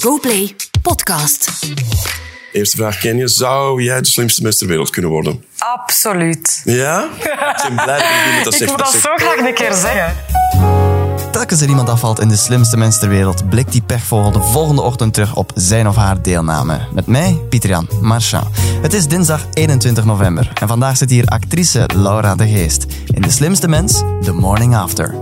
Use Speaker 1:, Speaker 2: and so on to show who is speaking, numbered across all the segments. Speaker 1: GoPlay Podcast.
Speaker 2: Eerste vraag ken je. Zou jij de slimste mens ter wereld kunnen worden?
Speaker 3: Absoluut.
Speaker 2: Ja? Ik ben blij dat iemand dat
Speaker 3: Ik
Speaker 2: zegt.
Speaker 3: wil dat
Speaker 2: Dat
Speaker 3: zo graag een keer zeggen.
Speaker 4: Telkens er iemand afvalt in de slimste mens ter wereld, blikt die pechvogel de volgende ochtend terug op zijn of haar deelname. Met mij, Pieter-Jan Marchand. Het is dinsdag 21 november en vandaag zit hier actrice Laura de Geest in De Slimste Mens, The Morning After.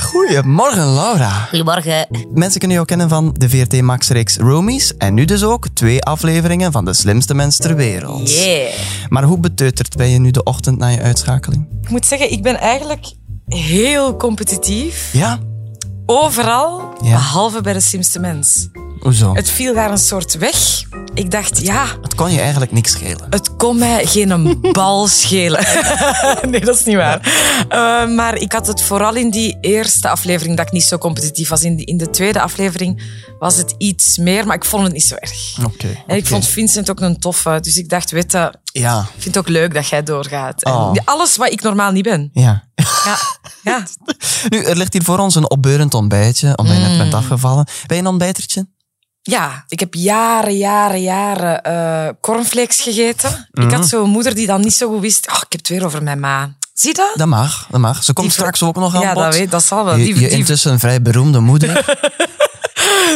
Speaker 4: Goedemorgen Laura.
Speaker 5: Goedemorgen.
Speaker 4: Mensen kunnen jou kennen van de VRT Max reeks Roomies en nu dus ook twee afleveringen van De Slimste Mens ter Wereld.
Speaker 5: Yeah.
Speaker 4: Maar hoe beteuterd ben je nu de ochtend na je uitschakeling?
Speaker 3: Ik moet zeggen, ik ben eigenlijk heel competitief.
Speaker 4: Ja?
Speaker 3: Overal,
Speaker 4: Ja.
Speaker 3: behalve bij de slimste mens.
Speaker 4: Hoezo? Het,
Speaker 3: Het viel daar een soort weg. Ik dacht, ja,
Speaker 4: kon je eigenlijk niks schelen.
Speaker 3: het kon mij geen een bal schelen. nee, dat is niet waar. Eh, maar ik had het vooral in die eerste aflevering dat ik niet zo competitief was. In, die- in de tweede aflevering was het iets meer, maar ik vond het niet zo erg.
Speaker 4: Oké.
Speaker 3: En ik vond Vincent ook een toffe, dus ik dacht, weet je,
Speaker 4: Ja.
Speaker 3: Ik vind het ook leuk dat jij doorgaat. En
Speaker 4: Oh.
Speaker 3: alles wat ik normaal niet ben.
Speaker 4: Ja.
Speaker 3: Ja. ja.
Speaker 4: Nu, er ligt hier voor ons een opbeurend ontbijtje, omdat
Speaker 3: Mm.
Speaker 4: je net bent afgevallen. Ben je een ontbijtertje?
Speaker 3: ja, ik heb jaren, jaren, jaren eh cornflakes gegeten. Ik had zo'n moeder die dan niet zo goed wist. Oh, ik heb het weer over mijn ma. Zie je dat?
Speaker 4: Dat mag, dat mag. Ze komt
Speaker 3: Die ver-
Speaker 4: straks ook nog aan
Speaker 3: ja,
Speaker 4: bod.
Speaker 3: dat, weet, dat zal wel.
Speaker 4: Je,
Speaker 3: Die,
Speaker 4: je
Speaker 3: die-
Speaker 4: intussen een vrij beroemde moeder.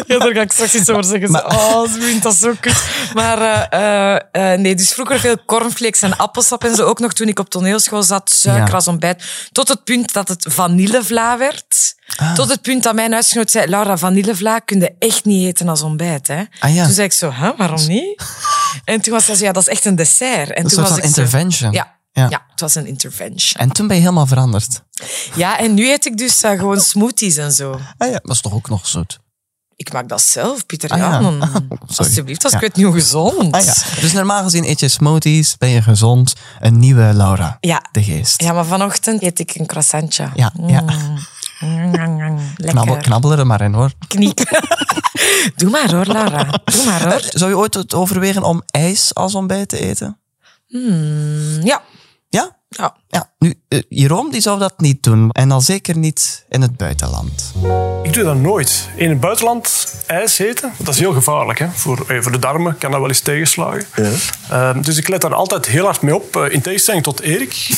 Speaker 3: ja, daar ga ik straks iets over zeggen.
Speaker 4: Maar-
Speaker 3: oh, ze vindt dat zo kut. Maar eh, eh, eh, nee, dus vroeger veel cornflakes en appelsap en zo. Ook nog toen ik op toneelschool zat, suiker
Speaker 4: Ja.
Speaker 3: als ontbijt. Tot het punt dat het vanillevla werd.
Speaker 4: Ah.
Speaker 3: Tot het punt dat mijn huisgenoot zei, Laura, vanillevla kun je echt niet eten als ontbijt. Hè?
Speaker 4: Ah, ja. Dus-
Speaker 3: Toen zei ik zo, hè, waarom niet? En toen was hij zo, ja, dat is echt een dessert. En
Speaker 4: Een
Speaker 3: toen
Speaker 4: soort
Speaker 3: was
Speaker 4: van
Speaker 3: ik zo-
Speaker 4: intervention.
Speaker 3: ja,
Speaker 4: Ja.
Speaker 3: ja. het was een intervention.
Speaker 4: En toen ben je helemaal veranderd.
Speaker 3: Ja, en nu eet ik dus eh, gewoon smoothies en zo.
Speaker 4: Ah ja, was toch ook nog zoet?
Speaker 3: Ik maak dat zelf, Pieter
Speaker 4: Ah, ja.
Speaker 3: Jan.
Speaker 4: Sorry.
Speaker 3: Alsjeblieft, als
Speaker 4: Ja.
Speaker 3: ik het nieuw gezond.
Speaker 4: Ah ja. Dus normaal gezien eet je smoothies, ben je gezond. Een nieuwe Laura.
Speaker 3: Ja.
Speaker 4: De geest.
Speaker 3: Ja, maar vanochtend eet ik een croissantje.
Speaker 4: Ja, ja.
Speaker 3: Mm. Lekker.
Speaker 4: Knabbel, knabbel er maar in hoor.
Speaker 3: Kniek. Doe maar hoor, Lara. Doe maar hoor.
Speaker 4: Eh, Zou je ooit het overwegen om ijs als ontbijt te eten?
Speaker 3: Ja.
Speaker 4: Ja?
Speaker 3: ja.
Speaker 4: Ja. Nu, eh, Jeroen die zou dat niet doen. En al zeker niet in het buitenland.
Speaker 6: Ik doe dat nooit. In het buitenland ijs eten, dat is heel gevaarlijk. Hè? Voor, eh, voor de darmen kan dat wel eens tegenslagen. Ehm, dus ik let daar altijd heel hard mee op. Eh, in tegenstelling tot Erik.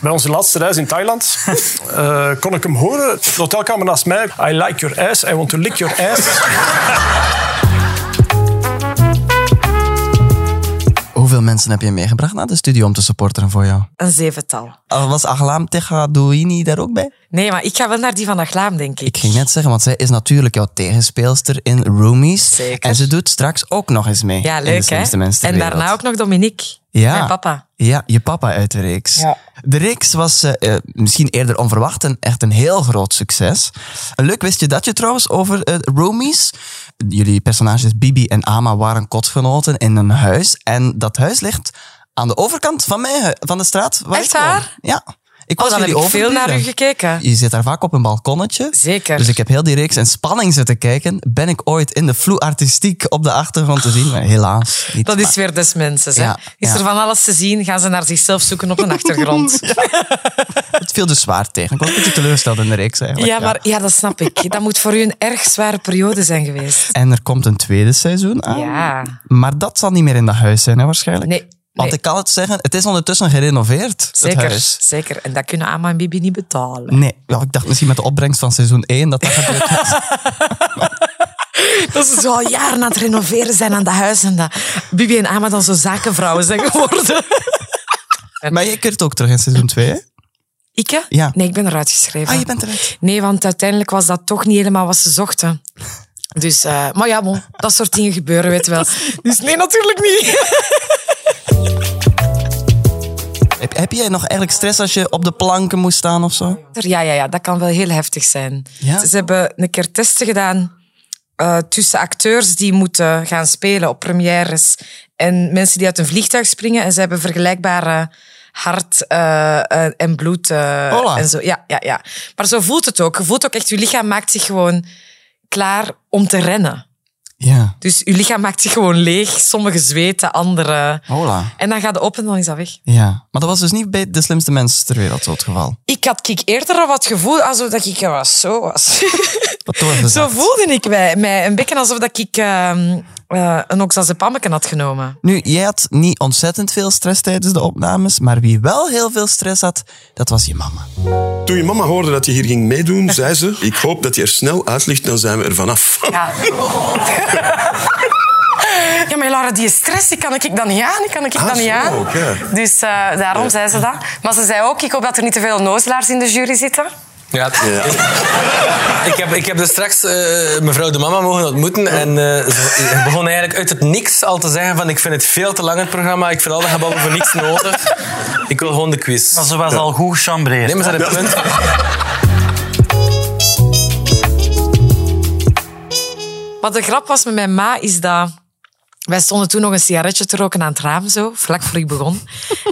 Speaker 6: Bij onze laatste reis in Thailand eh, kon ik hem horen. De hotelkamer naast mij. I like your ass, I want to lick your ass.
Speaker 4: Hoeveel mensen heb je meegebracht naar de studio om te supporteren voor jou?
Speaker 3: Een zevental.
Speaker 4: Al Was Aglaam Tegadouini daar ook bij?
Speaker 3: Nee, maar ik ga wel naar die van Aglaam, denk ik.
Speaker 4: Ik ging net zeggen, want zij is natuurlijk jouw tegenspeelster in Roomies.
Speaker 3: Zeker.
Speaker 4: En ze doet straks ook nog eens mee.
Speaker 3: Ja,
Speaker 4: in de
Speaker 3: leuk hè?
Speaker 4: slimste mensen ter
Speaker 3: En daarna
Speaker 4: wereld.
Speaker 3: ook nog Dominique.
Speaker 4: Ja.
Speaker 3: Mijn papa.
Speaker 4: Ja, je papa uit de reeks.
Speaker 3: Ja.
Speaker 4: De reeks was eh, eh, misschien eerder onverwacht en echt een heel groot succes. Leuk wist je dat je trouwens over eh Roomies. Jullie personages Bibi en Ama waren kotgenoten in een huis. En dat huis ligt aan de overkant van, mijn, hu- van de straat. Waar
Speaker 3: Echt
Speaker 4: ik woon.
Speaker 3: waar?
Speaker 4: Ja. Ik
Speaker 3: Oh,
Speaker 4: was
Speaker 3: dan heb
Speaker 4: jullie
Speaker 3: ik veel naar u
Speaker 4: overburen.
Speaker 3: gekeken.
Speaker 4: Je zit daar vaak op een balkonnetje.
Speaker 3: Zeker.
Speaker 4: Dus ik heb heel die reeks in spanning zitten kijken. Ben ik ooit in de vloe artistiek op de achtergrond te zien? Maar helaas niet.
Speaker 3: Dat
Speaker 4: Maar-
Speaker 3: is weer des mensen.
Speaker 4: Ja,
Speaker 3: Is
Speaker 4: ja.
Speaker 3: er van alles te zien, gaan ze naar zichzelf zoeken op een achtergrond. ja,
Speaker 4: Het viel dus zwaar tegen. Ik was een beetje teleurgesteld in de reeks eigenlijk.
Speaker 3: maar ja, dat snap ik. Dat moet voor u een erg zware periode zijn geweest.
Speaker 4: En er komt een tweede seizoen aan.
Speaker 3: Ja.
Speaker 4: Maar dat zal niet meer in dat huis zijn, hè, waarschijnlijk.
Speaker 3: Nee.
Speaker 4: Want
Speaker 3: nee.
Speaker 4: ik kan het zeggen, het is ondertussen gerenoveerd, het
Speaker 3: Zeker,
Speaker 4: huis.
Speaker 3: zeker. En dat kunnen Ama en Bibi niet betalen.
Speaker 4: Nee, ja, ik dacht misschien met de opbrengst van seizoen 1 dat dat gebeurt.
Speaker 3: Dat ze zo al jaren aan het renoveren zijn aan de huis. En dat Bibi en Ama dan zo zakenvrouwen zijn geworden.
Speaker 4: maar je kunt ook terug in seizoen 2, hè?
Speaker 3: Ik, hè?
Speaker 4: Ja.
Speaker 3: Nee, ik ben eruit geschreven.
Speaker 4: Ah, je bent eruit.
Speaker 3: Nee, want uiteindelijk was dat toch niet helemaal wat ze zochten. Dus, eh, maar ja, bon, dat soort dingen gebeuren, weet je wel. Dus nee, natuurlijk niet.
Speaker 4: Heb, heb jij nog eigenlijk stress als je op de planken moest staan of zo?
Speaker 3: Ja, ja, ja, dat kan wel heel heftig zijn.
Speaker 4: Ja?
Speaker 3: Ze hebben een keer testen gedaan eh, tussen acteurs die moeten gaan spelen op premières en mensen die uit een vliegtuig springen. En ze hebben vergelijkbare hart eh, eh, en bloed. eh,
Speaker 4: Hola.
Speaker 3: en zo. Ja, ja, ja. Maar zo voelt het ook. Je voelt ook echt, je lichaam maakt zich gewoon klaar om te rennen.
Speaker 4: Ja.
Speaker 3: Dus je lichaam maakt zich gewoon leeg. Sommige zweten, andere...
Speaker 4: Hola.
Speaker 3: En dan gaat de op en dan is dat weg.
Speaker 4: Ja. Maar dat was dus niet bij de slimste mensen ter wereld zo het geval.
Speaker 3: Ik had ik eerder al wat gevoel alsof dat ik er was, zo was.
Speaker 4: Wat doorgezakt.
Speaker 3: zo voelde ik mij, mij een beetje alsof dat ik ehm eh een oxazepameken had genomen.
Speaker 4: Nu, jij had niet ontzettend veel stress tijdens de opnames, maar wie wel heel veel stress had, dat was je mama.
Speaker 2: Toen je mama hoorde dat je hier ging meedoen, zei ze... Ik hoop dat je er snel uit ligt, dan zijn we er vanaf.
Speaker 3: Ja. Ja, maar Laura, die stress, die kan ik dan niet aan. Die kan ik
Speaker 2: Ah,
Speaker 3: dan niet
Speaker 2: zo,
Speaker 3: aan.
Speaker 2: oké.
Speaker 3: Dus eh, daarom zei ze dat. Maar ze zei ook, ik hoop dat er niet te veel nozelaars in de jury zitten.
Speaker 5: Ja, het- Ik, heb, ik heb dus straks eh, mevrouw de mama mogen ontmoeten. En eh, ze begon eigenlijk uit het niks al te zeggen van ik vind het veel te lang het programma. Ik vind al dat gebabbel voor niks nodig. Ik wil gewoon de quiz.
Speaker 7: Maar ze was al goed gechambreerd.
Speaker 5: Neem eens aan het punt.
Speaker 3: Wat de grap was met mijn ma, is dat... Wij stonden toen nog een sigaretje te roken aan het raam, zo, vrak voor ik begon.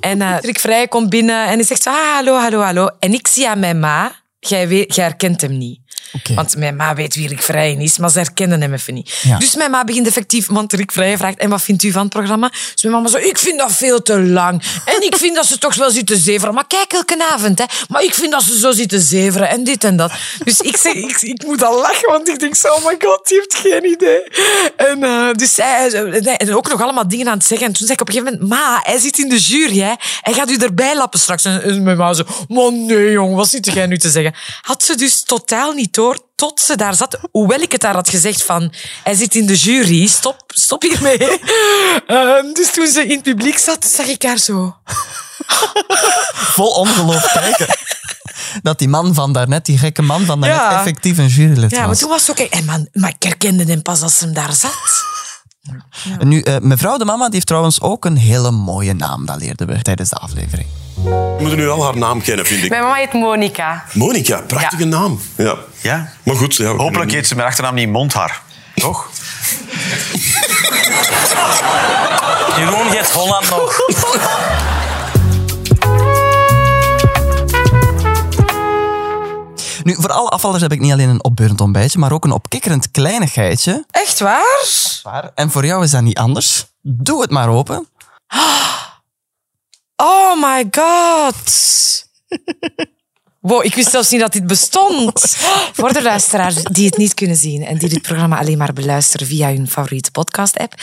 Speaker 3: En eh Dirk Vrij komt binnen en hij zegt zo, ah, hallo, hallo, hallo. En ik zie aan mijn ma, jij, weet, jij herkent hem niet. Want mijn ma weet wie Rick Vrijen is, maar ze herkennen hem even niet.
Speaker 4: Ja.
Speaker 3: Dus mijn ma begint effectief, want Rick Vrijen vraagt, en wat vindt u van het programma? Dus mijn mama zo, ik vind dat veel te lang. En ik vind dat ze toch wel zitten zeveren. Maar kijk elke avond, hè. Maar ik vind dat ze zo zitten zeveren en dit en dat. Dus ik zeg, ik, ik moet al lachen, want ik denk zo, oh my god, die heeft geen idee. En eh, dus zij, nee, en ook nog allemaal dingen aan het zeggen. En toen zei ik op een gegeven moment, ma, hij zit in de jury, hè. Hij gaat u erbij lappen straks. En, en mijn ma zo, maar nee jong, wat zit jij nu te zeggen? Had ze dus totaal niet door tot ze daar zat, hoewel ik het daar had gezegd van, hij zit in de jury, stop, stop hiermee. Ehm, dus toen ze in het publiek zat, zag ik haar zo.
Speaker 4: Vol ongeloof kijken. Dat die man van daarnet, die gekke man van daarnet,
Speaker 3: Ja.
Speaker 4: effectief een jurylid
Speaker 3: Ja, maar
Speaker 4: was.
Speaker 3: toen was ze ook... En man, maar ik herkende hem pas als ze hem daar zat.
Speaker 4: En Nu, eh, mevrouw de mama die heeft trouwens ook een hele mooie naam. Dat leerden we tijdens de aflevering.
Speaker 2: We moeten nu al haar naam kennen, vind ik.
Speaker 8: Mijn mama heet Monica.
Speaker 2: Monika, prachtige naam. Ja.
Speaker 7: Ja.
Speaker 2: Maar goed, ja, we
Speaker 7: Hopelijk
Speaker 2: kunnen-
Speaker 7: heet ze mijn achternaam niet Mondhaar. Toch? Jeroen geeft Holland nog.
Speaker 4: Nu, voor alle afvallers heb ik niet alleen een opbeurend ontbijtje, maar ook een opkikkerend kleinigheidje.
Speaker 3: Echt waar?
Speaker 4: En voor jou is dat niet anders. Doe het maar open.
Speaker 3: Oh my god. Wow, ik wist zelfs niet dat dit bestond. Voor de luisteraars die het niet kunnen zien en die dit programma alleen maar beluisteren via hun favoriete podcast-app.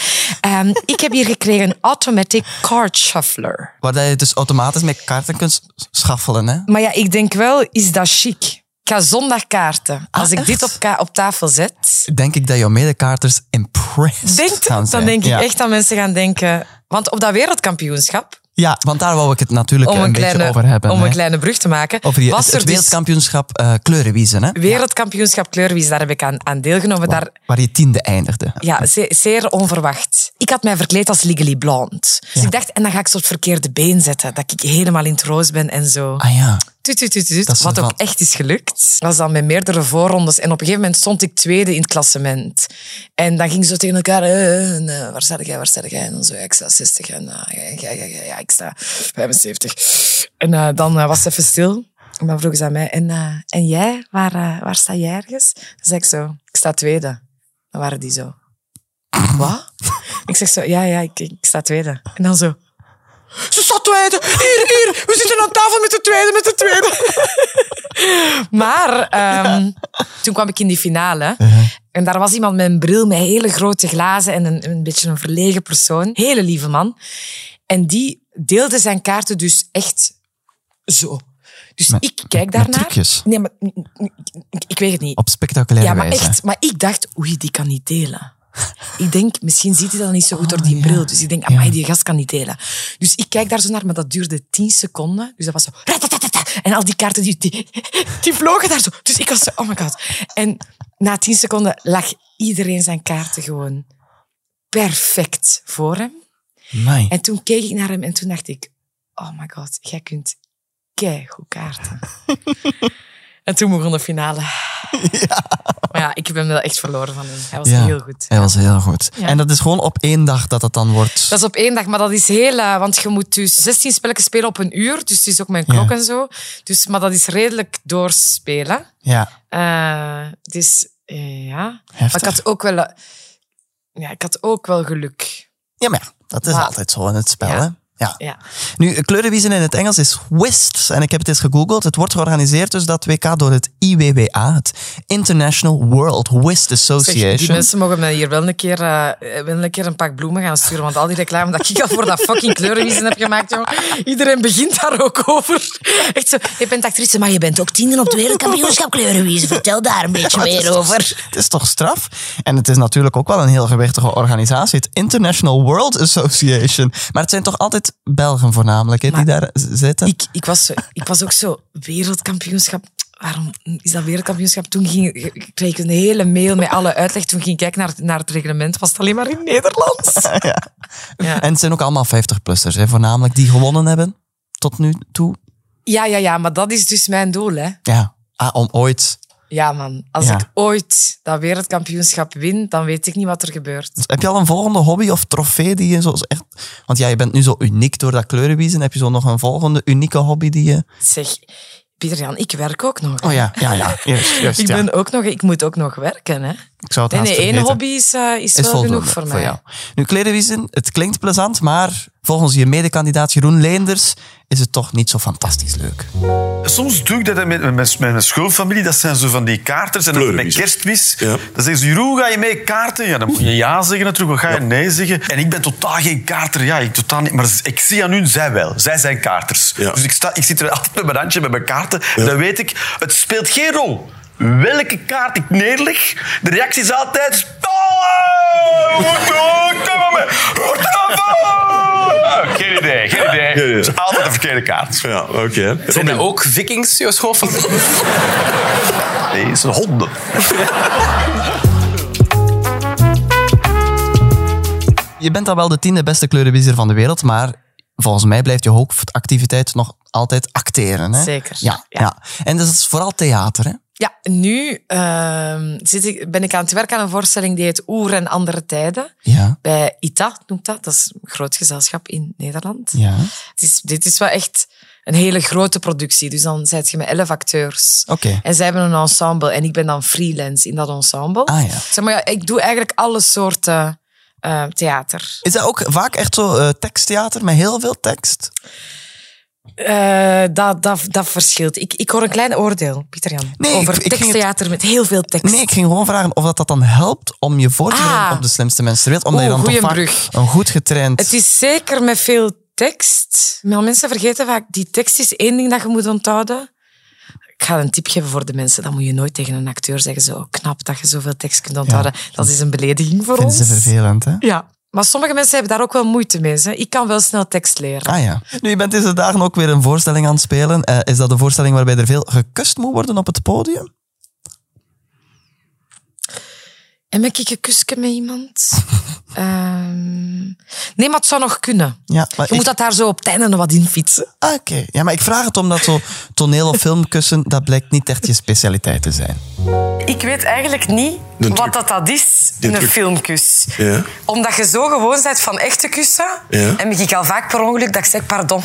Speaker 3: Ehm, ik heb hier gekregen een automatic card shuffler.
Speaker 4: Waar dat je dus automatisch met kaarten kunt s- schaffelen. Hè?
Speaker 3: Maar ja, ik denk wel, is dat chic? Ik ga zondag kaarten.
Speaker 4: Ah,
Speaker 3: Als ik dit op, ka- op tafel zet,
Speaker 4: Denk ik dat jouw medekaarters impressed
Speaker 3: denk,
Speaker 4: gaan zijn.
Speaker 3: dan denk ik
Speaker 4: Ja.
Speaker 3: echt dat mensen gaan denken... Want op dat wereldkampioenschap
Speaker 4: Ja, want daar wou ik het natuurlijk
Speaker 3: om
Speaker 4: een,
Speaker 3: een, kleine,
Speaker 4: beetje over hebben.
Speaker 3: om een
Speaker 4: hè.
Speaker 3: kleine brug te maken.
Speaker 4: Over die,
Speaker 3: was
Speaker 4: het,
Speaker 3: er
Speaker 4: het
Speaker 3: dus
Speaker 4: wereldkampioenschap eh, kleurenwiezen, hè?
Speaker 3: wereldkampioenschap kleurwies, daar heb ik aan, aan deelgenomen. Daar,
Speaker 4: waar je tiende eindigde.
Speaker 3: ja, ze- zeer onverwacht. Ik had mij verkleed als Legally Blonde. Dus ik dacht, en dan ga ik zo het verkeerde been zetten. Dat ik helemaal in het roos ben en zo.
Speaker 4: Ah ja,
Speaker 3: Tut, tut, tut, tut,
Speaker 4: Dat is
Speaker 3: wat ook
Speaker 4: ervan.
Speaker 3: echt is gelukt. Dat was dan met meerdere voorrondes. En op een gegeven moment stond ik tweede in het klassement. En dan ging zo tegen elkaar... eh, en, eh, waar sta jij, waar sta jij? En dan zo, ja, ik sta 60. En eh, ja, ja, ja, ja, ja, ik sta 75. En eh, dan eh, was ze even stil. En dan vroegen ze aan mij... En, eh, en jij, waar, eh, waar sta jij ergens? Dan zei ik zo... Ik sta tweede. Dan waren die zo... Wat? Ik zeg zo... Ja, ja, ik, ik sta tweede. En dan zo... Ze staat tweede. Hier, hier. We zitten aan tafel met de tweede, met de tweede. Maar ehm, toen kwam ik in die finale. En daar was iemand met een bril, met hele grote glazen en een, een beetje een verlegen persoon. Hele lieve man. En die deelde zijn kaarten dus echt zo. Dus
Speaker 4: Met-
Speaker 3: ik kijk
Speaker 4: met
Speaker 3: daarnaar.
Speaker 4: trucjes?
Speaker 3: Nee, maar ik, ik- ik weet het niet.
Speaker 4: op spectaculaire
Speaker 3: Ja, maar
Speaker 4: wijze.
Speaker 3: echt. Maar ik dacht, oei, die kan niet delen. Ik denk, misschien ziet hij dat niet zo goed door die bril. Dus ik denk, amai, die gast kan niet delen. Dus ik kijk daar zo naar, maar dat duurde tien seconden. Dus dat was zo... ratatatata. En al die kaarten, die, die, die vlogen daar zo. Dus ik was zo, oh my god. En na tien seconden lag iedereen zijn kaarten gewoon perfect voor hem.
Speaker 4: Amai.
Speaker 3: En toen keek ik naar hem en toen dacht ik, oh my god, jij kunt keigoed kaarten. en toen begon de finale. Maar ja, ik heb hem wel echt verloren van hem. Hij was
Speaker 4: Ja,
Speaker 3: heel goed.
Speaker 4: Hij was heel goed.
Speaker 3: Ja.
Speaker 4: En dat is gewoon op één dag dat dat dan wordt.
Speaker 3: Dat is op één dag, maar dat is heel... eh, want je moet dus 16 spelletjes spelen op een uur. Dus het is ook mijn klok
Speaker 4: Ja.
Speaker 3: en zo. Dus, maar dat is redelijk doorspelen.
Speaker 4: Ja,
Speaker 3: Eh, dus eh, ja. Maar
Speaker 4: heftig.
Speaker 3: ik had ook wel... eh, ja, ik had ook wel geluk.
Speaker 4: Ja, maar ja, dat is
Speaker 3: Maar-
Speaker 4: altijd zo in het spel,
Speaker 3: Ja.
Speaker 4: hè? Ja.
Speaker 3: Ja.
Speaker 4: Nu, kleurenwiezen in het Engels is WISTS. En ik heb het eens gegoogeld. Het wordt georganiseerd dus dat WK door het IWWA, het International World Whist
Speaker 3: Zeg,
Speaker 4: Association.
Speaker 3: die mensen mogen me hier wel een, keer, eh, wel een keer een pak bloemen gaan sturen, want al die reclame dat ik al voor dat fucking kleurenwiezen heb gemaakt, jongen, iedereen begint daar ook over. Echt zo, je bent actrice, maar je bent ook tiende op de wereldkampioenschap kleurenwiezen. Vertel daar een beetje
Speaker 4: het is
Speaker 3: meer
Speaker 4: toch-
Speaker 3: over.
Speaker 4: Het is toch straf? En het is natuurlijk ook wel een heel gewichtige organisatie, het International World Association. Maar het zijn toch altijd Belgen voornamelijk hè, die
Speaker 3: Maar-
Speaker 4: daar z- zitten?
Speaker 3: Ik, ik, was, zo- ik was ook zo wereldkampioenschap. Waarom is dat wereldkampioenschap? Toen ging, kreeg ik een hele mail met alle uitleg. Toen ging ik kijken naar, het- naar het reglement. Was het alleen maar in Nederlands? Ja.
Speaker 4: En het zijn ook allemaal 50-plussers, hè, voornamelijk die gewonnen hebben tot nu toe.
Speaker 3: Ja, ja, ja. Maar dat is dus mijn doel, hè.
Speaker 4: Ja, ah, om ooit.
Speaker 3: Ja, man. Als
Speaker 4: Ja.
Speaker 3: ik ooit dat wereldkampioenschap win, dan weet ik niet wat er gebeurt.
Speaker 4: Dus heb je al een volgende hobby of trofee die je zo echt. Want ja, je bent nu zo uniek door dat kleurenwiezen. Heb je zo nog een volgende unieke hobby die je.
Speaker 3: Zeg, Pieter-Jan, ik werk ook nog.
Speaker 4: Oh ja, ja, ja. Juist, juist,
Speaker 3: ik,
Speaker 4: ja.
Speaker 3: ben ook nog ik moet ook nog werken, hè.
Speaker 4: Ik zou het
Speaker 3: Nee, nee,
Speaker 4: haast
Speaker 3: één
Speaker 4: vergeten.
Speaker 3: hobby is, eh, is,
Speaker 4: is
Speaker 3: wel
Speaker 4: voldoende
Speaker 3: genoeg voor mij.
Speaker 4: jou. Nu, klerenwiezen, het klinkt plezant, maar volgens je medekandidaat Jeroen Leenders is het toch niet zo fantastisch leuk.
Speaker 8: Soms doe ik dat met, met, mijn- met mijn schoolfamilie. Dat zijn zo van die kaarters. En dat met
Speaker 2: Kleurenwiezen.
Speaker 8: kerstmis.
Speaker 2: Ja.
Speaker 8: Dan zeggen ze, Jeroen, ga je mee kaarten? Ja, dan moet je ja zeggen natuurlijk. Dan ga je nee zeggen. En ik ben totaal geen kaarter. Ja, ik totaal niet. Maar ik zie aan hun, zij wel. Zij zijn kaarters.
Speaker 2: Ja.
Speaker 8: Dus ik, sta, ik zit er altijd met mijn handje, met mijn kaarten. Dan weet ik, het speelt geen rol. Welke kaart ik neerleg, de reactie is altijd... "Spel! Moet doen, Kom maar mee! Hoort er aan van!" Geen idee, geen idee.
Speaker 2: Geen idee.
Speaker 8: Het is altijd de verkeerde kaart.
Speaker 2: Ja, oké. hè.
Speaker 5: Zijn dat ook vikings, jouw schoolfamilie?
Speaker 8: Nee, het zijn honden.
Speaker 4: Je bent dan wel de tiende beste kleurenwiezer van de wereld, maar volgens mij blijft je hoofdactiviteit nog altijd acteren. Hè?
Speaker 3: Zeker,
Speaker 4: Ja, ja.
Speaker 3: ja.
Speaker 4: En dus dat is vooral theater, hè?
Speaker 3: Ja, nu ehm, zit ik, ben ik aan het werken aan een voorstelling die heet Oer en andere tijden.
Speaker 4: Ja.
Speaker 3: Bij ITA noemt dat. Dat is een groot gezelschap in Nederland.
Speaker 4: Ja.
Speaker 3: Het is, dit is wel echt een hele grote productie. Dus dan zet je met elf acteurs.
Speaker 4: Oké.
Speaker 3: En zij hebben een ensemble en ik ben dan freelance in dat ensemble.
Speaker 4: Ah, ja.
Speaker 3: Zeg maar, ja, ik doe eigenlijk alle soorten eh, theater.
Speaker 4: Is dat ook vaak echt zo eh, teksttheater met heel veel tekst?
Speaker 3: Eh, dat, dat, dat verschilt. Ik, ik hoor een klein oordeel, Pieter-Jan,
Speaker 4: Nee, ik- ik
Speaker 3: over
Speaker 4: ging het-
Speaker 3: teksttheater met heel veel tekst.
Speaker 4: Nee, ik ging gewoon vragen of dat, dat dan helpt om je voor te bereiden
Speaker 3: Ah.
Speaker 4: op de slimste mensen ter wereld. Omdat
Speaker 3: Oeh,
Speaker 4: je dan toch
Speaker 3: goeie
Speaker 4: vaak
Speaker 3: brug.
Speaker 4: een goed getraind...
Speaker 3: Het is zeker met veel tekst. Maar mensen vergeten vaak, die tekst is één ding dat je moet onthouden. Ik ga een tip geven voor de mensen. Dat moet je nooit tegen een acteur zeggen. Zo knap dat je zoveel tekst kunt onthouden. Dat is een belediging voor
Speaker 4: Vinden
Speaker 3: ons.
Speaker 4: ze vervelend, hè?
Speaker 3: Ja. Maar sommige mensen hebben daar ook wel moeite mee. Hè. Ik kan wel snel tekst leren.
Speaker 4: Ah ja. Nu, je bent deze dagen ook weer een voorstelling aan het spelen. Eh, is dat een voorstelling waarbij er veel gekust moet worden op het podium?
Speaker 3: En ben ik een kusje met iemand? Ehm, nee, maar het zou nog kunnen.
Speaker 4: Ja, maar
Speaker 3: Je moet
Speaker 4: ik-
Speaker 3: dat daar zo op het einde nog wat in fietsen.
Speaker 4: Ah, Oké. Ja, maar ik vraag het omdat zo toneel- of filmkussen, dat blijkt niet echt je specialiteit te zijn.
Speaker 9: Ik weet eigenlijk niet
Speaker 2: De truc.
Speaker 9: wat dat, dat is,
Speaker 2: De
Speaker 9: een
Speaker 2: truc.
Speaker 9: filmkus.
Speaker 2: Ja.
Speaker 9: Omdat je zo gewoon bent van echte kussen.
Speaker 2: Ja.
Speaker 9: En ben ik al vaak per ongeluk dat ik zeg pardon.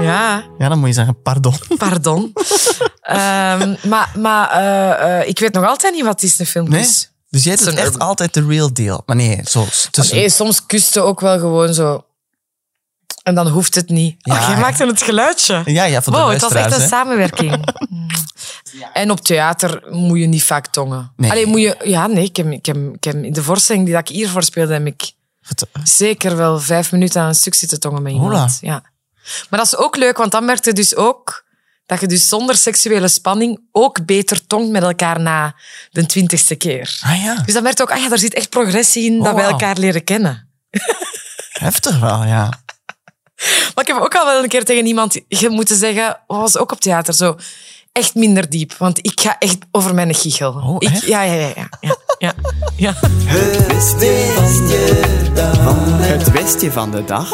Speaker 3: Ja.
Speaker 4: Ja, dan moet je zeggen, pardon.
Speaker 3: Pardon. Ehm, maar maar eh, eh, ik weet nog altijd niet wat het is, een filmkus.
Speaker 4: Dus jij doet
Speaker 3: Zo'n
Speaker 4: echt
Speaker 3: urban-
Speaker 4: altijd de real deal. Maar nee, zo tussen...
Speaker 3: Nee, soms kuste ook wel gewoon zo. En dan hoeft het niet.
Speaker 4: Ja,
Speaker 3: oh, jij
Speaker 4: ja.
Speaker 3: maakte het geluidje.
Speaker 4: Ja, ja, voor de
Speaker 3: wow, het was echt
Speaker 4: luisteraars,
Speaker 3: een
Speaker 4: hè.
Speaker 3: samenwerking. Mm. En op theater moet je niet vaak tongen.
Speaker 4: Nee.
Speaker 3: Alleen moet je... Ja, nee, ik heb, ik heb, ik heb, in de voorstelling die dat ik hiervoor speelde, heb ik zeker wel vijf minuten aan een stuk zitten tongen met iemand.
Speaker 4: Hola.
Speaker 3: Ja. Maar dat is ook leuk, want dan merk je dus ook dat je dus zonder seksuele spanning ook beter tongt met elkaar na de twintigste keer.
Speaker 4: Ah ja,
Speaker 3: Dus dan merk je ook, ah ja, daar zit echt progressie in,
Speaker 4: Oh,
Speaker 3: dat wij
Speaker 4: wauw.
Speaker 3: elkaar leren kennen.
Speaker 4: heftig wel, ja.
Speaker 3: Maar ik heb ook al wel een keer tegen iemand ge- moeten zeggen, wat was ook op theater zo, echt minder diep, want ik ga echt over mijn gichel.
Speaker 4: Oh,
Speaker 3: ik,
Speaker 4: echt?
Speaker 3: Ja, ja, ja. ja, ja, ja, ja.
Speaker 4: Het westje van de dag.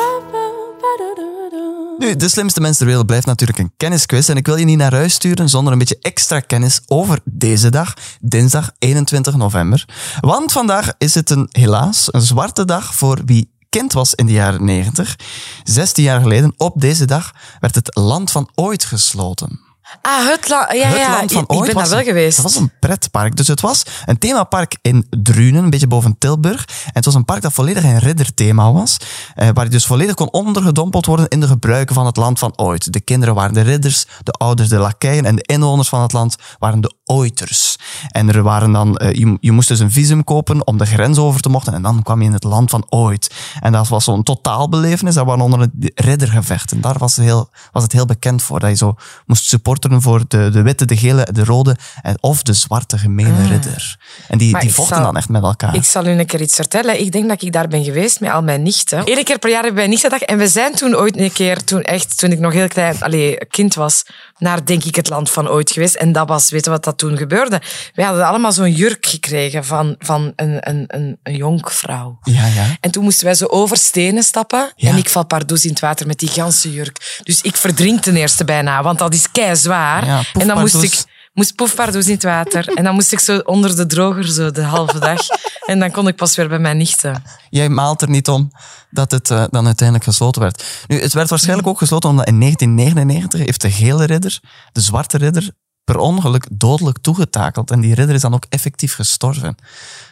Speaker 4: Nu, de slimste mens ter wereld blijft natuurlijk een kennisquiz. En ik wil je niet naar huis sturen zonder een beetje extra kennis over deze dag, dinsdag 21 november. Want vandaag is het een, helaas een zwarte dag voor wie kind was in de jaren 90. 16 jaar geleden, op deze dag, werd het land van ooit gesloten.
Speaker 3: Ah, het la- Ja,
Speaker 4: Het
Speaker 3: ja,
Speaker 4: land van
Speaker 3: ik-
Speaker 4: ooit
Speaker 3: ik ben
Speaker 4: was
Speaker 3: daar wel
Speaker 4: een-
Speaker 3: geweest.
Speaker 4: Dat was een pretpark. Dus het was een themapark in Drunen, een beetje boven Tilburg. En het was een park dat volledig een ridderthema was. eh, waar je dus volledig kon ondergedompeld worden in de gebruiken van het land van ooit. De kinderen waren de ridders, de ouders de lakeien en de inwoners van het land waren de oiters. En er waren dan, eh, je, je moest dus een visum kopen om de grens over te mochten en dan kwam je in het land van ooit. En dat was zo'n totaalbelevenis. Dat waren onder het riddergevecht. En daar was, heel, was het heel bekend voor. Dat je zo moest supporteren voor de, de witte, de gele, de rode en, of de zwarte gemene ridder. En die,
Speaker 3: Ah. Maar
Speaker 4: die
Speaker 3: ik
Speaker 4: vochten
Speaker 3: zou-
Speaker 4: dan echt met elkaar.
Speaker 3: Ik zal u een keer iets vertellen. Ik denk dat ik daar ben geweest met al mijn nichten. Eén keer per jaar hebben wij nichtendag. En we zijn toen ooit een keer, toen, echt, toen ik nog heel klein allee, kind was, naar denk ik het land van ooit geweest. En dat was, weet je wat dat toen gebeurde? Wij hadden allemaal zo'n jurk gekregen van, van een, een, een, een jonkvrouw.
Speaker 4: Ja, ja.
Speaker 3: En toen moesten wij zo over stenen stappen.
Speaker 4: Ja.
Speaker 3: En ik val pardoes in het water met die ganse jurk. Dus ik verdrink ten eerste bijna, want dat is kei zwaar.
Speaker 4: Ja, poef
Speaker 3: en dan moest
Speaker 4: pardoes.
Speaker 3: ik moest poefpardoes in het water. En dan moest ik zo onder de droger zo de halve dag. En dan kon ik pas weer bij mijn nichten.
Speaker 4: Jij maalt er niet om dat het eh, dan uiteindelijk gesloten werd. Nu, het werd waarschijnlijk ook gesloten omdat in 1999 heeft de gele ridder, de zwarte ridder, per ongeluk dodelijk toegetakeld. En die ridder is dan ook effectief gestorven.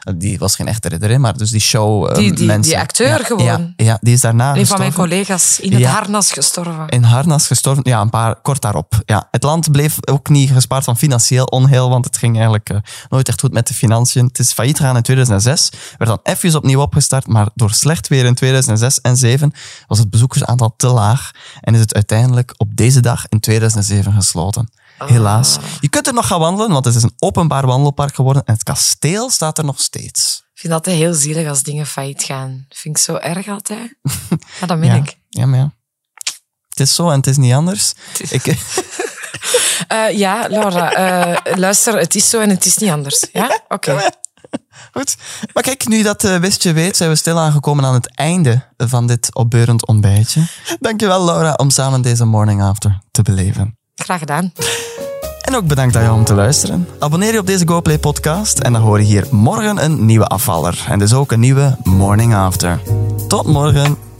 Speaker 4: Eh, Die was geen echte ridder, hè, maar dus die show eh,
Speaker 3: Die- die-
Speaker 4: mensen.
Speaker 3: die acteur
Speaker 4: Ja,
Speaker 3: gewoon.
Speaker 4: Ja, ja, die is daarna
Speaker 3: Een van mijn
Speaker 4: gestorven.
Speaker 3: collega's in het
Speaker 4: Ja.
Speaker 3: harnas gestorven.
Speaker 4: In harnas gestorven, ja, een paar kort daarop. Ja, het land bleef ook niet gespaard van financieel onheil, want het ging eigenlijk eh, nooit echt goed met de financiën. Het is failliet gegaan in 2006, werd dan even opnieuw opgestart, maar door slecht weer in 2006 en 2007 was het bezoekersaantal te laag en is het uiteindelijk op deze dag in 2007 gesloten. Helaas. Je kunt er nog gaan wandelen, want het is een openbaar wandelpark geworden en het kasteel staat er nog steeds.
Speaker 3: Ik vind dat heel zielig als dingen failliet gaan. Vind ik zo erg altijd. Maar dat meen
Speaker 4: ja.
Speaker 3: ik.
Speaker 4: Ja, maar ja. Het is zo en het is niet anders. Ik,
Speaker 3: Eh, ja, Laura, eh, luister, het is zo en het is niet anders. Ja? Oké.
Speaker 4: Goed. Maar kijk, nu dat eh, wist je weet, zijn we stil aangekomen aan het einde van dit opbeurend ontbijtje. Dankjewel, Laura, om samen deze morning after te beleven.
Speaker 3: Graag gedaan.
Speaker 4: En ook bedankt aan jou om te luisteren. Abonneer je op deze GoPlay podcast en dan hoor je hier morgen een nieuwe afvaller. En dus ook een nieuwe morning after. Tot morgen.